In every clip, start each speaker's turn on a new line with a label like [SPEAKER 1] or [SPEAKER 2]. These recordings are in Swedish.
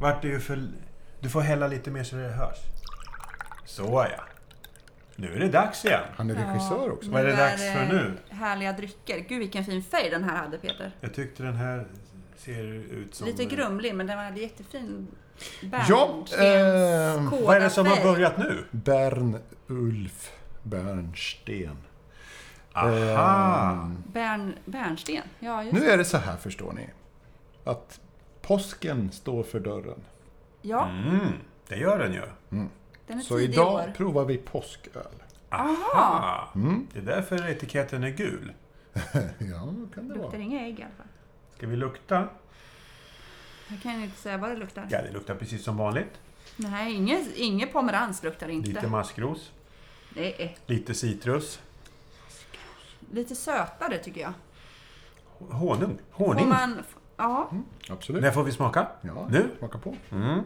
[SPEAKER 1] vart det ju för... Du får hälla lite mer så det hörs. Så ja. Nu är det dags igen.
[SPEAKER 2] Han är regissör också.
[SPEAKER 1] Vad är det
[SPEAKER 3] där,
[SPEAKER 1] dags för
[SPEAKER 3] eh,
[SPEAKER 1] nu?
[SPEAKER 3] Härliga drycker. Gud vilken fin färg den här hade Peter.
[SPEAKER 1] Jag tyckte den här ser ut som...
[SPEAKER 2] eh,
[SPEAKER 3] Lite grumlig men den hade jättefin
[SPEAKER 2] Ja,
[SPEAKER 3] bärnstens-
[SPEAKER 2] eh,
[SPEAKER 1] Vad är det som har
[SPEAKER 3] kådafärg.
[SPEAKER 1] börjat nu?
[SPEAKER 2] Bern Ulf Bernsten. Eh, Ehm,
[SPEAKER 1] Aha!
[SPEAKER 3] Bärn, bärnsten. Ja, just
[SPEAKER 2] Nu
[SPEAKER 3] det.
[SPEAKER 2] är det så här förstår ni. Att påsken står för dörren.
[SPEAKER 3] Ja,
[SPEAKER 1] Mm, det gör den ju.
[SPEAKER 3] den är
[SPEAKER 2] Så
[SPEAKER 3] tidig i
[SPEAKER 2] idag
[SPEAKER 3] år.
[SPEAKER 2] provar vi påsköl.
[SPEAKER 1] Aha! Ah. Det är därför etiketten är gul.
[SPEAKER 2] Ja, kan det
[SPEAKER 3] Luktar
[SPEAKER 2] vara.
[SPEAKER 3] inga ägg i alla fall.
[SPEAKER 1] Ska vi lukta?
[SPEAKER 3] Jag kan ju inte säga vad det luktar.
[SPEAKER 1] Ja, det luktar precis som vanligt.
[SPEAKER 3] Nej, ingen, ingen pomerans luktar det inte.
[SPEAKER 1] Lite maskros,
[SPEAKER 3] Nej,
[SPEAKER 1] lite citrus.
[SPEAKER 3] lite sötare tycker jag.
[SPEAKER 1] Honung.
[SPEAKER 3] Om
[SPEAKER 1] Honung.
[SPEAKER 3] man... Ja,
[SPEAKER 2] Mm. Absolut.
[SPEAKER 1] När får vi smaka?
[SPEAKER 2] Ja,
[SPEAKER 1] Nu?
[SPEAKER 2] smaka på.
[SPEAKER 1] Mm.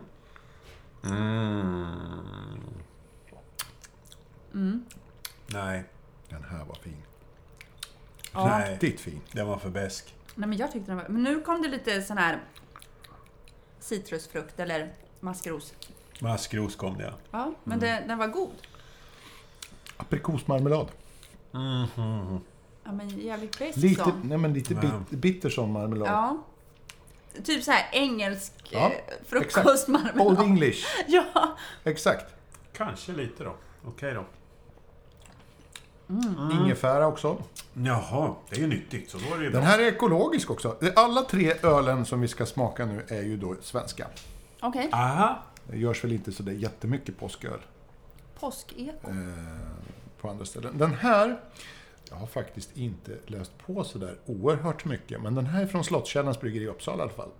[SPEAKER 1] Nej,
[SPEAKER 2] Den här var fin.
[SPEAKER 1] nej.
[SPEAKER 2] Riktigt fin.
[SPEAKER 1] Den var för besk.
[SPEAKER 3] nej men jag tyckte den var... Men nu kom det lite sån här citrusfrukt eller maskros.
[SPEAKER 1] Maskros kom det, ja.
[SPEAKER 3] Ja,
[SPEAKER 2] Mm.
[SPEAKER 3] men det, den var god.
[SPEAKER 2] Aprikosmarmelad.
[SPEAKER 3] Ja, men jävligt besk
[SPEAKER 2] Lite,
[SPEAKER 3] sån.
[SPEAKER 2] nej, men lite
[SPEAKER 1] Ja.
[SPEAKER 2] bit, bitter som marmelad.
[SPEAKER 3] Ja. Typ så här engelsk
[SPEAKER 2] Ja,
[SPEAKER 3] eh,
[SPEAKER 2] Old
[SPEAKER 3] frukostmarmelad.
[SPEAKER 2] English.
[SPEAKER 3] Ja.
[SPEAKER 2] Exakt.
[SPEAKER 1] Kanske lite då. Okej då.
[SPEAKER 2] Mm. Ingefära också.
[SPEAKER 1] Jaha, det är ju nyttigt, så då är det ju
[SPEAKER 2] Den
[SPEAKER 1] bra.
[SPEAKER 2] här är ekologisk också. Alla tre ölen som vi ska smaka nu är ju då svenska.
[SPEAKER 3] Okej.
[SPEAKER 1] Aha!
[SPEAKER 2] Det görs väl inte så där jättemycket påsköl
[SPEAKER 3] Påskeko.
[SPEAKER 2] eh, på andra ställen. Den här, jag har faktiskt inte läst på så där oerhört mycket, men den här är från Slottskärrans bryggeri i Uppsala i alla fall.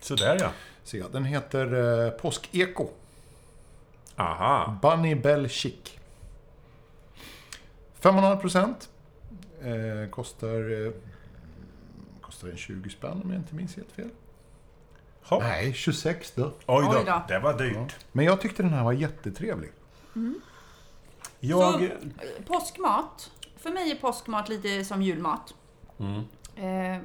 [SPEAKER 1] Sådär ja.
[SPEAKER 2] Ser jag. Den heter eh, Påskeko.
[SPEAKER 1] Aha!
[SPEAKER 2] Bunny Bell Chic. 5,5 procent. Eh, kostar, eh, kostar en 20 spänn om jag inte minns helt fel.
[SPEAKER 1] Hopp.
[SPEAKER 2] Nej, 26 då.
[SPEAKER 1] Oj, då,
[SPEAKER 3] Oj då.
[SPEAKER 1] det var dyrt.
[SPEAKER 2] Men jag tyckte den här var jättetrevlig.
[SPEAKER 1] Jag...
[SPEAKER 3] Så, påskmat. För mig är påskmat lite som julmat.
[SPEAKER 1] Mm.
[SPEAKER 3] Eh,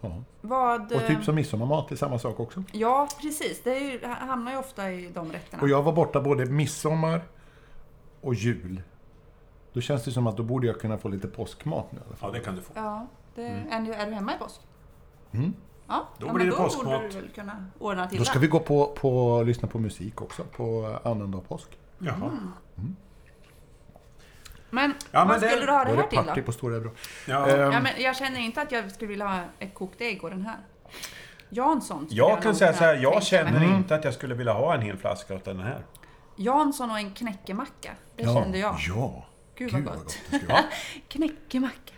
[SPEAKER 2] Ja.
[SPEAKER 3] vad... eh,
[SPEAKER 2] Och typ som midsommarmat är samma sak också.
[SPEAKER 3] Ja, precis. Det är ju, hamnar ju ofta i de rätterna.
[SPEAKER 2] Och jag var borta både midsommar och jul. Då känns det som att då borde jag kunna få lite påskmat nu i alla fall.
[SPEAKER 1] Ja, det kan du få.
[SPEAKER 3] Ja, det,
[SPEAKER 2] Mm.
[SPEAKER 3] är, du, är du hemma i påsk? Ja,
[SPEAKER 1] Då blir
[SPEAKER 3] ja, men
[SPEAKER 1] det
[SPEAKER 3] då
[SPEAKER 1] påskmat.
[SPEAKER 3] borde du väl kunna ordna till
[SPEAKER 2] Då ska
[SPEAKER 3] det.
[SPEAKER 2] vi gå på, på lyssna på musik också på annandag påsk.
[SPEAKER 1] Jaha.
[SPEAKER 3] Men
[SPEAKER 1] Ja, men
[SPEAKER 3] vad
[SPEAKER 1] det-
[SPEAKER 3] skulle du ha
[SPEAKER 2] Då
[SPEAKER 3] det
[SPEAKER 2] är
[SPEAKER 3] här
[SPEAKER 2] det
[SPEAKER 3] till
[SPEAKER 2] party
[SPEAKER 3] då?
[SPEAKER 2] på Stora Ebro.
[SPEAKER 1] Ja.
[SPEAKER 2] Ehm,
[SPEAKER 3] Ja, men jag känner inte att jag skulle vilja ha ett kokt ägg och den här. Jansson. skulle
[SPEAKER 1] Jag kan
[SPEAKER 3] nog
[SPEAKER 1] säga
[SPEAKER 3] kunna
[SPEAKER 1] så här, jag
[SPEAKER 3] tänka
[SPEAKER 1] känner
[SPEAKER 3] mig.
[SPEAKER 1] inte att jag skulle vilja ha en hel flaska av den här.
[SPEAKER 3] Jansson och en knäckemacka. Det kände jag.
[SPEAKER 2] Ja.
[SPEAKER 3] Gud, vad gott.
[SPEAKER 2] det ska vara.
[SPEAKER 3] Knäckemacka.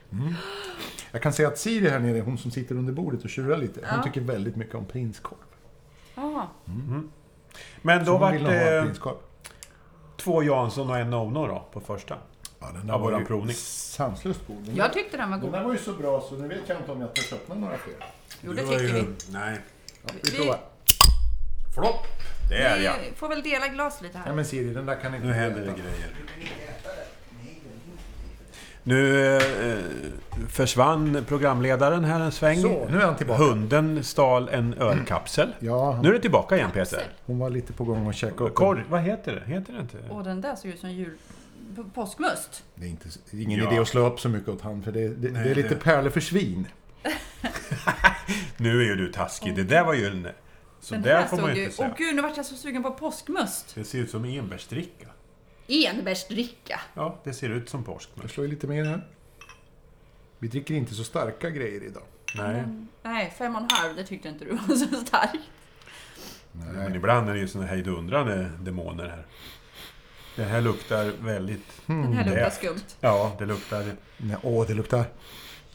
[SPEAKER 2] Jag kan säga att Siri här nere, hon som sitter under bordet och tjurar lite, hon tycker väldigt mycket om prinskorv.
[SPEAKER 3] Ja,
[SPEAKER 1] Men då
[SPEAKER 2] Hon
[SPEAKER 1] vart eh,
[SPEAKER 2] vill nog ha en
[SPEAKER 1] det
[SPEAKER 2] prinskorv.
[SPEAKER 1] två Jansson och en Nono då, på första.
[SPEAKER 2] Ja, den
[SPEAKER 1] Ja, våran
[SPEAKER 2] ju
[SPEAKER 1] provning.
[SPEAKER 2] sanslöst god. Den,
[SPEAKER 3] jag tyckte den var
[SPEAKER 2] den där
[SPEAKER 3] god.
[SPEAKER 2] var ju så bra så nu vet jag inte om jag törs öppna några fler.
[SPEAKER 3] Jo, det
[SPEAKER 1] Du var
[SPEAKER 3] tycker
[SPEAKER 1] ju-
[SPEAKER 3] vi.
[SPEAKER 1] Nej.
[SPEAKER 2] Ja,
[SPEAKER 3] Vi-
[SPEAKER 2] vi provar.
[SPEAKER 1] Flopp! Det är jag.
[SPEAKER 3] Vi får väl dela glas lite
[SPEAKER 2] Nej
[SPEAKER 3] här.
[SPEAKER 2] men Siri, den där kan inte
[SPEAKER 1] Nu
[SPEAKER 2] du
[SPEAKER 1] händer det
[SPEAKER 2] äta.
[SPEAKER 1] grejer. Nu eh, försvann programledaren här en sväng.
[SPEAKER 2] Så, nu är han tillbaka.
[SPEAKER 1] Hunden stal en ölkapsel.
[SPEAKER 2] Ja, han-
[SPEAKER 1] Nu är det tillbaka igen Peter.
[SPEAKER 2] Hon var lite på gång att käka upp.
[SPEAKER 1] Korv, vad heter det? Heter det inte?
[SPEAKER 3] Och den där såg ut som jul... p- påskmust.
[SPEAKER 2] Det är inte, ingen
[SPEAKER 1] Ja.
[SPEAKER 2] idé att slå upp så mycket åt han för det, det,
[SPEAKER 1] Nej,
[SPEAKER 2] det är lite
[SPEAKER 1] det-
[SPEAKER 2] pärlor för svin.
[SPEAKER 1] Nu är ju du taskig. Det där var ju en... Så
[SPEAKER 3] Den
[SPEAKER 1] där
[SPEAKER 3] här
[SPEAKER 1] får man
[SPEAKER 3] såg
[SPEAKER 1] ju
[SPEAKER 3] ju...
[SPEAKER 1] inte
[SPEAKER 3] Åh
[SPEAKER 1] säga.
[SPEAKER 3] gud, nu vart jag så sugen på påskmust.
[SPEAKER 1] Det ser ut som enbärsdricka.
[SPEAKER 3] Enbärsdricka.
[SPEAKER 1] Ja, det ser ut som påsk. Men...
[SPEAKER 2] Jag slår ju lite mer här. Vi dricker inte så starka grejer idag.
[SPEAKER 3] Mm.
[SPEAKER 1] Nej.
[SPEAKER 3] Nej, fem och en halv, det tyckte inte du var så stark.
[SPEAKER 1] Men ibland är det ju såna hejdundrande demoner här. Det här luktar väldigt...
[SPEAKER 2] Mm.
[SPEAKER 3] Den här luktar
[SPEAKER 1] det.
[SPEAKER 3] skumt.
[SPEAKER 1] Ja, det luktar...
[SPEAKER 2] Nej, åh, det luktar...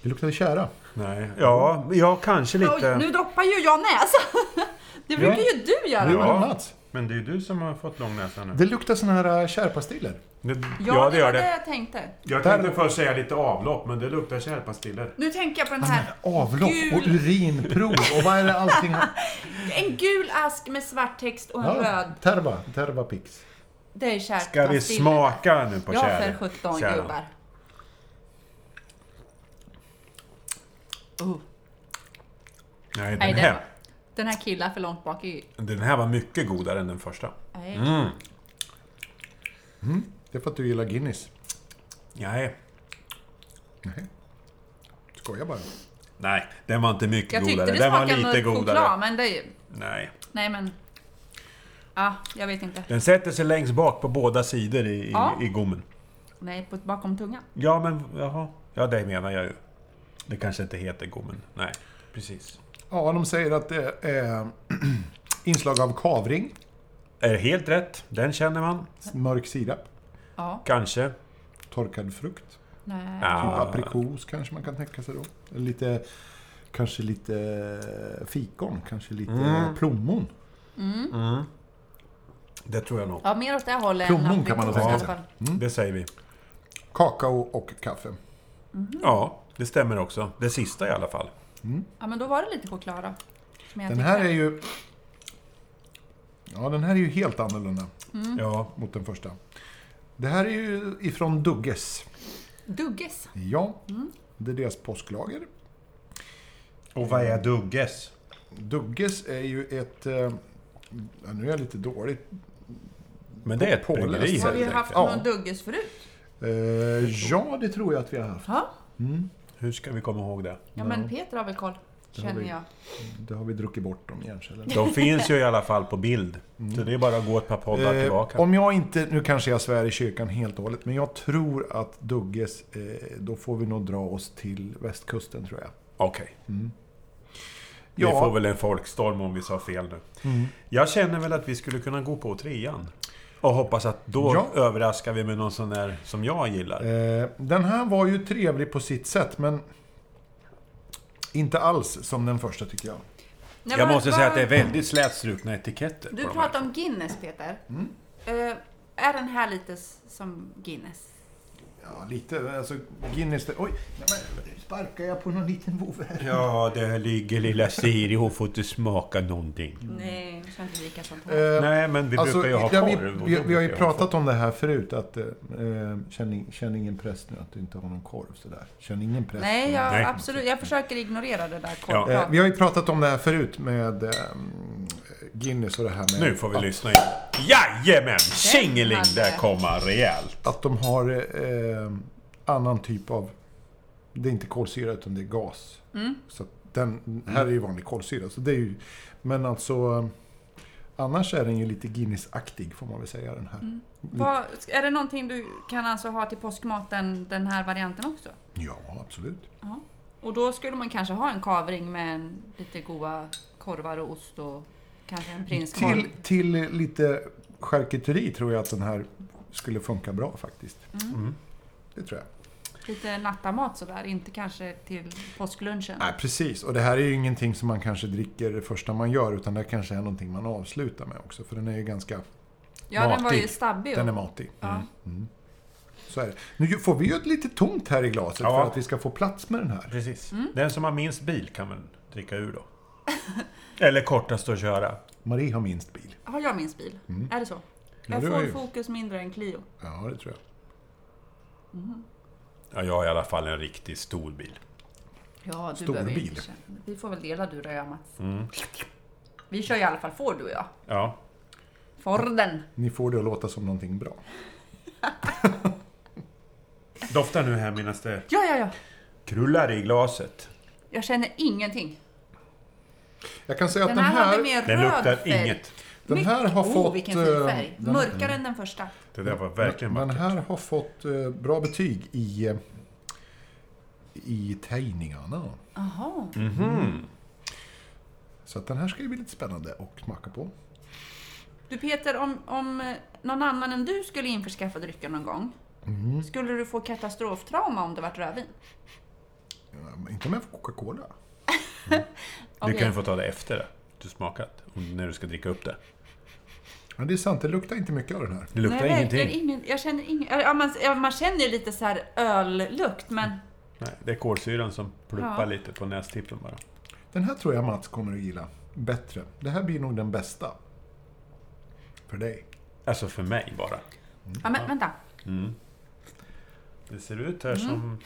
[SPEAKER 2] Det luktar tjära.
[SPEAKER 1] Nej. Ja, ja kanske lite...
[SPEAKER 3] Oj, nu droppar ju jag näsan. Det brukar
[SPEAKER 1] Ja.
[SPEAKER 3] ju du göra.
[SPEAKER 2] Nu
[SPEAKER 3] Ja,
[SPEAKER 2] var det Mats.
[SPEAKER 1] Men det är ju du som har fått lång näsa nu.
[SPEAKER 2] Det luktar såna här äh, tjärpastiller.
[SPEAKER 1] Det,
[SPEAKER 3] det var det jag tänkte.
[SPEAKER 1] Jag tänkte först säga lite avlopp, men det luktar kärpastiller.
[SPEAKER 3] Nu tänker jag på den här.
[SPEAKER 2] Avlopp och
[SPEAKER 3] Gul.
[SPEAKER 2] urinprov och vad är det allting har...
[SPEAKER 3] En gul ask med svart text och en röd.
[SPEAKER 2] terva, terva pix.
[SPEAKER 3] Det är kärt.
[SPEAKER 1] Ska vi smaka nu på
[SPEAKER 3] Ja,
[SPEAKER 1] tjär-
[SPEAKER 3] för 17
[SPEAKER 1] tjäran?
[SPEAKER 3] gubbar. Oh,
[SPEAKER 1] Nej, den
[SPEAKER 3] nej, den,
[SPEAKER 1] här.
[SPEAKER 3] var- Den här killar för långt bak i...
[SPEAKER 1] Den här var mycket godare än den första.
[SPEAKER 3] Nej.
[SPEAKER 1] Mm.
[SPEAKER 2] Det är för att du gillar Guinness.
[SPEAKER 1] Nej.
[SPEAKER 2] Nej. Skoja bara.
[SPEAKER 1] Nej, den var inte mycket
[SPEAKER 3] Jag tyckte
[SPEAKER 1] godare.
[SPEAKER 3] det
[SPEAKER 1] den var
[SPEAKER 3] smakade
[SPEAKER 1] lite
[SPEAKER 3] lite
[SPEAKER 1] godare.
[SPEAKER 3] choklad, men det är ju...
[SPEAKER 1] Nej.
[SPEAKER 3] Nej, men... Ja, jag vet inte.
[SPEAKER 1] Den sätter sig längst bak på båda sidor i, i,
[SPEAKER 3] Ja.
[SPEAKER 1] i gommen.
[SPEAKER 3] Nej, på, bakom tungan.
[SPEAKER 1] Ja, men jaha. Ja, det menar jag ju. Det kanske inte heter gommen. Nej, precis.
[SPEAKER 2] Ja, de säger att det är inslag av kavring,
[SPEAKER 1] Är helt rätt. Den känner man.
[SPEAKER 2] mörk sirap,
[SPEAKER 3] Ja,
[SPEAKER 1] Kanske.
[SPEAKER 2] torkad frukt.
[SPEAKER 3] nej.
[SPEAKER 2] Typ
[SPEAKER 1] Ja.
[SPEAKER 2] aprikos kanske man kan tänka sig då. Lite, kanske lite fikon, kanske lite
[SPEAKER 1] Mm.
[SPEAKER 2] plommon.
[SPEAKER 1] Mm. Det tror jag nog.
[SPEAKER 3] Ja, mer åt det hållet
[SPEAKER 2] Plommon kan man nog
[SPEAKER 3] aprikos i
[SPEAKER 2] tänka
[SPEAKER 3] alla fall.
[SPEAKER 1] Det säger vi.
[SPEAKER 2] Kakao och kaffe.
[SPEAKER 1] Ja, det stämmer också. Det sista i alla fall.
[SPEAKER 3] Ja, men då var det lite choklad då. Som jag
[SPEAKER 2] Den här är
[SPEAKER 3] tyckte.
[SPEAKER 2] ju... Ja, den här är ju helt annorlunda
[SPEAKER 3] Mm.
[SPEAKER 1] Ja.
[SPEAKER 2] mot den första. Det här är ju ifrån Dugges.
[SPEAKER 3] Dugges.
[SPEAKER 2] Ja, det är deras påsklager.
[SPEAKER 1] Och vad är Dugges?
[SPEAKER 2] Dugges är ju ett... eh, Ja, nu är jag lite dålig.
[SPEAKER 1] Men det är ett
[SPEAKER 2] Påläst.
[SPEAKER 1] bryggeri
[SPEAKER 3] Har vi
[SPEAKER 1] helt
[SPEAKER 3] haft
[SPEAKER 1] enkelt.
[SPEAKER 2] Ja.
[SPEAKER 3] någon Dugges förut?
[SPEAKER 2] Eh, ja, det tror jag att vi har haft. Mm.
[SPEAKER 3] Ja.
[SPEAKER 1] Hur ska vi komma ihåg det?
[SPEAKER 3] Ja, men Peter har väl koll.
[SPEAKER 2] Det har
[SPEAKER 3] Känner
[SPEAKER 2] vi.
[SPEAKER 3] jag.
[SPEAKER 2] Det har vi druckit bort om hjärncellerna.
[SPEAKER 1] De finns ju i alla fall på bild. Så det är bara att gå ett par poddar
[SPEAKER 2] Eh,
[SPEAKER 1] tillbaka.
[SPEAKER 2] om jag inte, nu kanske jag svär i kyrkan helt och hållet, men jag tror att Dugges, eh, då får vi nog dra oss till västkusten tror jag.
[SPEAKER 1] Okej. Vi
[SPEAKER 2] Ja. Mm.
[SPEAKER 1] får väl en folkstorm om vi sa fel nu. Jag känner väl att vi skulle kunna gå på trean. Och hoppas att då
[SPEAKER 2] Ja.
[SPEAKER 1] överraskar vi med någon sån där som jag gillar.
[SPEAKER 2] Eh, den här var ju trevlig på sitt sätt, men inte alls som den första tycker jag.
[SPEAKER 3] Nej,
[SPEAKER 1] jag
[SPEAKER 3] men
[SPEAKER 1] måste
[SPEAKER 3] vad-
[SPEAKER 1] säga att det är väldigt slätstrukna etiketter.
[SPEAKER 3] Du
[SPEAKER 1] på de här.
[SPEAKER 3] pratar om Guinness, Peter. Eh, är den här lite s- som Guinness?
[SPEAKER 2] Ja, lite, alltså Guinness, det, oj, nej, men, sparkar jag på någon liten vovve här?
[SPEAKER 1] Ja, där ligger lilla Siri. Hon får inte smaka någonting.
[SPEAKER 3] Mm. Nej, jag ska inte dricka sånt här.
[SPEAKER 2] Eh,
[SPEAKER 1] Nej, men vi
[SPEAKER 2] Alltså,
[SPEAKER 1] brukar ju ha
[SPEAKER 2] ja,
[SPEAKER 1] korv. och
[SPEAKER 2] vi,
[SPEAKER 1] då
[SPEAKER 2] vi, vi har ju
[SPEAKER 1] brukar jag ha
[SPEAKER 2] pratat om det här förut, att eh, eh, känn, in- känn ingen press nu att du inte har någon korv sådär. Känn ingen press.
[SPEAKER 3] Nej, jag,
[SPEAKER 1] Nej.
[SPEAKER 3] absolut. Jag försöker ignorera det där
[SPEAKER 1] Ja.
[SPEAKER 2] Eh,
[SPEAKER 3] korvpratet.
[SPEAKER 2] vi har ju pratat om det här förut med eh, Guinness och det här med
[SPEAKER 1] Nu får vi lyssna in. Jajamän! Tjingeling! Där
[SPEAKER 3] hade-
[SPEAKER 1] kom han rejält.
[SPEAKER 2] att de har eh, annan typ av... Det är inte kolsyra utan det är gas. Så att den, här är ju vanlig kolsyra. Så det är ju, men alltså... eh, Annars är den ju lite Guinness-aktig får man väl säga den här.
[SPEAKER 3] Vad, är det någonting du kan alltså ha till påskmaten, den här varianten också?
[SPEAKER 2] Ja, absolut.
[SPEAKER 3] Ja. Och då skulle man kanske ha en kavring med en, lite goda korvar och ost och kanske en prinskorv.
[SPEAKER 2] Till, till lite charkuteri tror jag att den här skulle funka bra faktiskt.
[SPEAKER 1] Mm.
[SPEAKER 2] Det tror jag.
[SPEAKER 3] Lite nattamat sådär, inte kanske till påsklunchen.
[SPEAKER 2] Nej, precis. Och det här är ju ingenting som man kanske dricker det första man gör, utan det kanske är någonting man avslutar med också. För den är ju ganska...
[SPEAKER 3] ja, den var ju
[SPEAKER 2] matig.
[SPEAKER 3] stabbig.
[SPEAKER 2] Den är matig. Mm.
[SPEAKER 3] ja.
[SPEAKER 2] Så är det. Nu får vi ju ett lite tomt här i glaset
[SPEAKER 1] Ja.
[SPEAKER 2] för att vi ska få plats med den här.
[SPEAKER 1] Precis.
[SPEAKER 3] Mm.
[SPEAKER 1] Den som har minst bil kan väl dricka ur då? Eller kortast att köra.
[SPEAKER 2] Marie har minst bil.
[SPEAKER 3] Har jag minst bil? Är det så?
[SPEAKER 2] det
[SPEAKER 3] Jag
[SPEAKER 2] Mm. har
[SPEAKER 3] får
[SPEAKER 2] ju.
[SPEAKER 3] fokus mindre än Clio.
[SPEAKER 2] Ja, det tror jag.
[SPEAKER 1] Ja, jag har i alla fall en riktigt stor bil.
[SPEAKER 3] Ja, du
[SPEAKER 2] Stor
[SPEAKER 3] behöver ju
[SPEAKER 2] bil. Mm.
[SPEAKER 3] inte känna. Vi får väl dela du och jag Mats. Vi kör i alla fall Ford du och jag.
[SPEAKER 1] Ja.
[SPEAKER 3] Forden!
[SPEAKER 2] Ni får det att låta som någonting bra.
[SPEAKER 1] Dofta nu här medan det
[SPEAKER 3] Ja, ja, ja.
[SPEAKER 1] krullar i glaset.
[SPEAKER 3] Jag känner ingenting.
[SPEAKER 2] Jag kan säga
[SPEAKER 3] Den
[SPEAKER 2] att
[SPEAKER 3] här,
[SPEAKER 2] den här...
[SPEAKER 3] hade mer
[SPEAKER 1] Den
[SPEAKER 3] röd
[SPEAKER 1] luktar
[SPEAKER 3] färg.
[SPEAKER 1] inget.
[SPEAKER 2] Den
[SPEAKER 3] Mycket-
[SPEAKER 2] här har
[SPEAKER 3] oh,
[SPEAKER 2] fått,
[SPEAKER 3] vilken fin färg.
[SPEAKER 2] eh, den-
[SPEAKER 3] Mörkare än den första.
[SPEAKER 1] Det där var verkligen
[SPEAKER 2] Den
[SPEAKER 1] vackert.
[SPEAKER 2] här har fått eh, bra betyg i, eh, i tejningarna.
[SPEAKER 3] Jaha.
[SPEAKER 2] Mm. Så att den här ska ju bli lite spännande att smaka på.
[SPEAKER 3] Du Peter, om, om eh, någon annan än du skulle införskaffa drycker någon gång,
[SPEAKER 2] Mm.
[SPEAKER 3] skulle du få katastroftrauma om det vart rödvin?
[SPEAKER 2] Ja, men Inte om jag får Coca-Cola.
[SPEAKER 1] Du
[SPEAKER 3] Mm. Okej.
[SPEAKER 1] kan ju få ta det efter det. Du smakat. Om- När du ska dricka upp det.
[SPEAKER 2] Men det är sant, det luktar inte mycket av den här.
[SPEAKER 1] Det luktar
[SPEAKER 3] Nej, verkligen
[SPEAKER 1] ingenting.
[SPEAKER 3] Ingen, jag känner ingen, ja, man, ja, man känner ju lite så här öllukt, men
[SPEAKER 1] Nej, det är kolsyran som pluppar
[SPEAKER 3] Ja.
[SPEAKER 1] lite på nästippen bara.
[SPEAKER 2] Den här tror jag Mats kommer att gilla bättre. Det här blir nog den bästa. För dig.
[SPEAKER 1] Alltså för mig bara.
[SPEAKER 3] ja, men vänta.
[SPEAKER 1] Det ser ut här som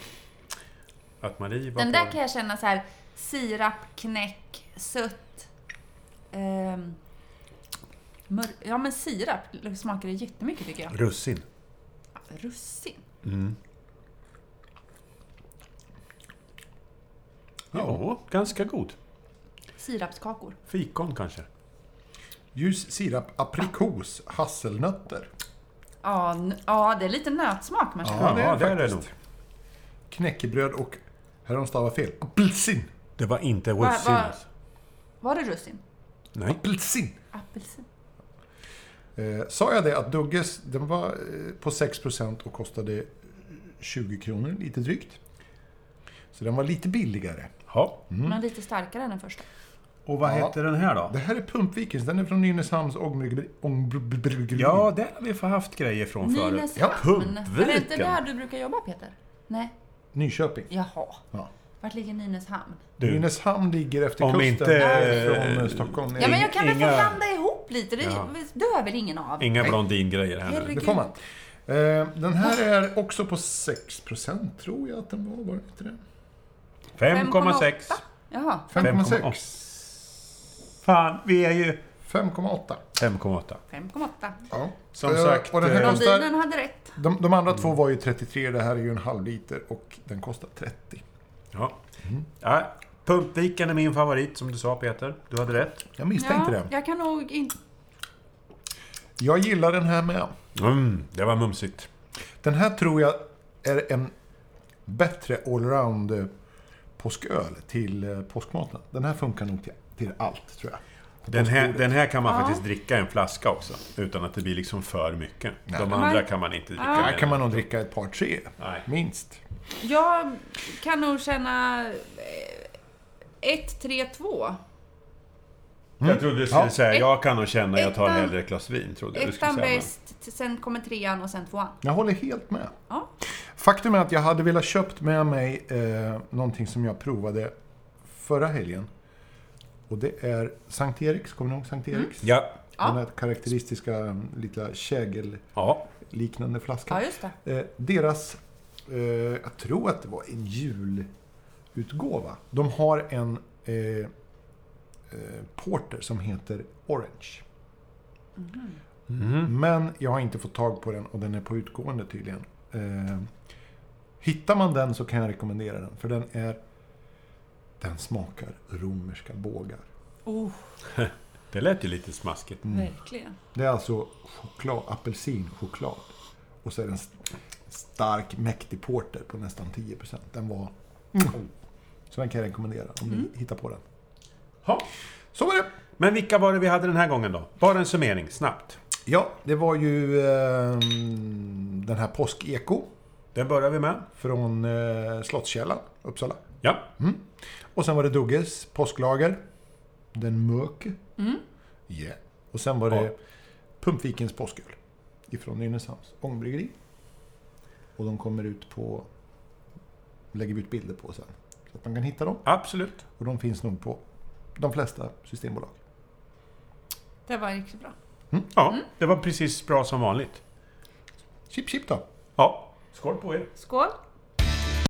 [SPEAKER 1] att Marie var
[SPEAKER 3] Mm. Den
[SPEAKER 1] på
[SPEAKER 3] där kan jag känna så här sirap, knäck, sött, ehm, mör- ja, men sirap smakar det jättemycket tycker jag.
[SPEAKER 1] Russin.
[SPEAKER 3] Russin.
[SPEAKER 1] Ja, ganska god.
[SPEAKER 3] Sirapskakor.
[SPEAKER 1] Fikon kanske.
[SPEAKER 2] Ljus sirap, aprikos, hasselnötter.
[SPEAKER 3] Ja, n- ja, det är lite nötsmak man känner.
[SPEAKER 2] Ja, det är det
[SPEAKER 1] det nog.
[SPEAKER 2] faktiskt. Knäckebröd och, här har de stavat fel, apelsin.
[SPEAKER 1] Det var inte
[SPEAKER 3] va-
[SPEAKER 1] russin. alltså.
[SPEAKER 3] Var det russin?
[SPEAKER 1] Nej.
[SPEAKER 2] Apelsin!
[SPEAKER 3] Apelsin?
[SPEAKER 2] Eh, sa jag det att Dugges, den var eh, på 6% och kostade 20 kronor, lite drygt. Så den var lite billigare.
[SPEAKER 1] Ja.
[SPEAKER 3] Men lite starkare än den första.
[SPEAKER 4] Och vad
[SPEAKER 2] Ja.
[SPEAKER 4] hette den här då?
[SPEAKER 2] Det här är Pumpvikens, den är från Nynäshamns ångbryggeri. ångbryggeri.
[SPEAKER 4] Ja, där har vi fått haft grejer från förut.
[SPEAKER 3] Nynäshamn.
[SPEAKER 2] Ja,
[SPEAKER 3] Är det inte
[SPEAKER 1] Pumpviken.
[SPEAKER 3] där du brukar jobba Peter? Nej.
[SPEAKER 2] Nyköping.
[SPEAKER 3] Jaha.
[SPEAKER 2] Ja.
[SPEAKER 3] Vart ligger Nynäshamn?
[SPEAKER 1] Du,
[SPEAKER 2] Nynäshamn ligger efter
[SPEAKER 1] Om
[SPEAKER 2] kusten
[SPEAKER 1] inte-
[SPEAKER 2] från eh, Stockholm.
[SPEAKER 3] Ja, men jag kan väl få
[SPEAKER 1] inga-
[SPEAKER 3] blanda ihop lite. Det
[SPEAKER 1] Ja.
[SPEAKER 3] dör väl ingen av?
[SPEAKER 1] inga blondingrejer här nu.
[SPEAKER 3] Herregud.
[SPEAKER 2] Det får man. Eh, Den här är också på 6% tror jag att den var, var det inte det?
[SPEAKER 1] 5,6.
[SPEAKER 3] 5,8. Jaha.
[SPEAKER 2] 5,6.
[SPEAKER 1] Fan, vi är ju...
[SPEAKER 2] 5,8.
[SPEAKER 1] 5,8.
[SPEAKER 3] 5,8.
[SPEAKER 2] Ja.
[SPEAKER 1] Som
[SPEAKER 2] Eh,
[SPEAKER 1] sagt,
[SPEAKER 2] Och den här
[SPEAKER 1] eh,
[SPEAKER 2] kostar
[SPEAKER 3] Blondinen hade rätt.
[SPEAKER 2] De, de andra två var ju 33, det här är ju en halv liter och den kostar 30.
[SPEAKER 1] Ja.
[SPEAKER 2] Mm.
[SPEAKER 1] ja. Pumpviken är min favorit, som du sa Peter. Du hade rätt.
[SPEAKER 2] Jag misstänkte det.
[SPEAKER 3] jag kan nog inte...
[SPEAKER 2] Jag gillar den här med.
[SPEAKER 1] Mm, det var mumsigt.
[SPEAKER 2] Den här tror jag är en bättre allround eh, påsköl till eh, påskmaten. Den här funkar nog till, till allt, tror jag.
[SPEAKER 1] Den här, den här kan man
[SPEAKER 3] Ja.
[SPEAKER 1] faktiskt dricka i en flaska också. Utan att det blir liksom för mycket. De
[SPEAKER 3] Man-
[SPEAKER 1] andra kan man inte dricka.
[SPEAKER 2] Den
[SPEAKER 1] med
[SPEAKER 2] här kan
[SPEAKER 1] den.
[SPEAKER 2] man nog dricka ett par tre,
[SPEAKER 1] Nej.
[SPEAKER 2] minst.
[SPEAKER 3] Jag kan nog känna... eh, 1, 3, 2.
[SPEAKER 2] Mm.
[SPEAKER 1] Jag trodde du skulle
[SPEAKER 2] Ja.
[SPEAKER 1] säga, jag kan nog känna, jag tar
[SPEAKER 3] Ettan-
[SPEAKER 1] hellre ett glas vin. Trodde jag du skulle
[SPEAKER 3] Ettan
[SPEAKER 1] säga. men-
[SPEAKER 3] bäst, t- sen kommer trean och sen tvåan.
[SPEAKER 2] Jag håller helt med.
[SPEAKER 3] Ja.
[SPEAKER 2] Faktum är att jag hade velat köpt med mig eh, någonting som jag provade förra helgen. Och det är Sankt Eriks, kommer ni ihåg Sankt Eriks?
[SPEAKER 1] Ja.
[SPEAKER 3] Mm. Ja.
[SPEAKER 2] Den här karaktäristiska mm, lilla
[SPEAKER 1] Ja.
[SPEAKER 2] kägelliknande
[SPEAKER 3] Ja,
[SPEAKER 2] flaskan.
[SPEAKER 3] just det.
[SPEAKER 2] Eh, deras, eh, jag tror att det var en julutgåva. De har en eh, eh, porter som heter Orange.
[SPEAKER 3] Mm.
[SPEAKER 2] Men jag har inte fått tag på den och den är på utgående tydligen. Eh, hittar man den så kan jag rekommendera den. För den är... Den smakar romerska bågar. Mm.
[SPEAKER 3] Oh,
[SPEAKER 1] Det lät ju lite smaskigt.
[SPEAKER 3] verkligen.
[SPEAKER 2] Det är alltså choklad, apelsinchoklad. Och så är det en st- stark, mäktig porter på nästan 10%. Den var... Så den kan jag rekommendera om ni hittar på den.
[SPEAKER 1] Ja.
[SPEAKER 2] Så var det!
[SPEAKER 1] Men vilka var det vi hade den här gången då? Bara en summering, snabbt.
[SPEAKER 2] Ja, det var ju eh, den här påskeko
[SPEAKER 1] Den börjar vi med.
[SPEAKER 2] från eh, Slottskällan, Uppsala. Mm.
[SPEAKER 1] Ja.
[SPEAKER 2] Och sen var det Dugges påsklager. Den mörke. Yeah. Och sen var det
[SPEAKER 1] Ja.
[SPEAKER 2] Pumpvikens påsköl. Ifrån Nynäshamns ångbryggeri. Och de kommer ut på... Lägger vi ut bilder på sen. Så att man kan hitta dem.
[SPEAKER 1] Absolut.
[SPEAKER 2] Och de finns nog på de flesta systembolag.
[SPEAKER 3] Det var riktigt bra.
[SPEAKER 1] Ja, det var precis bra som vanligt.
[SPEAKER 2] Chip chip då!
[SPEAKER 1] Ja. Skål på er.
[SPEAKER 3] Skål!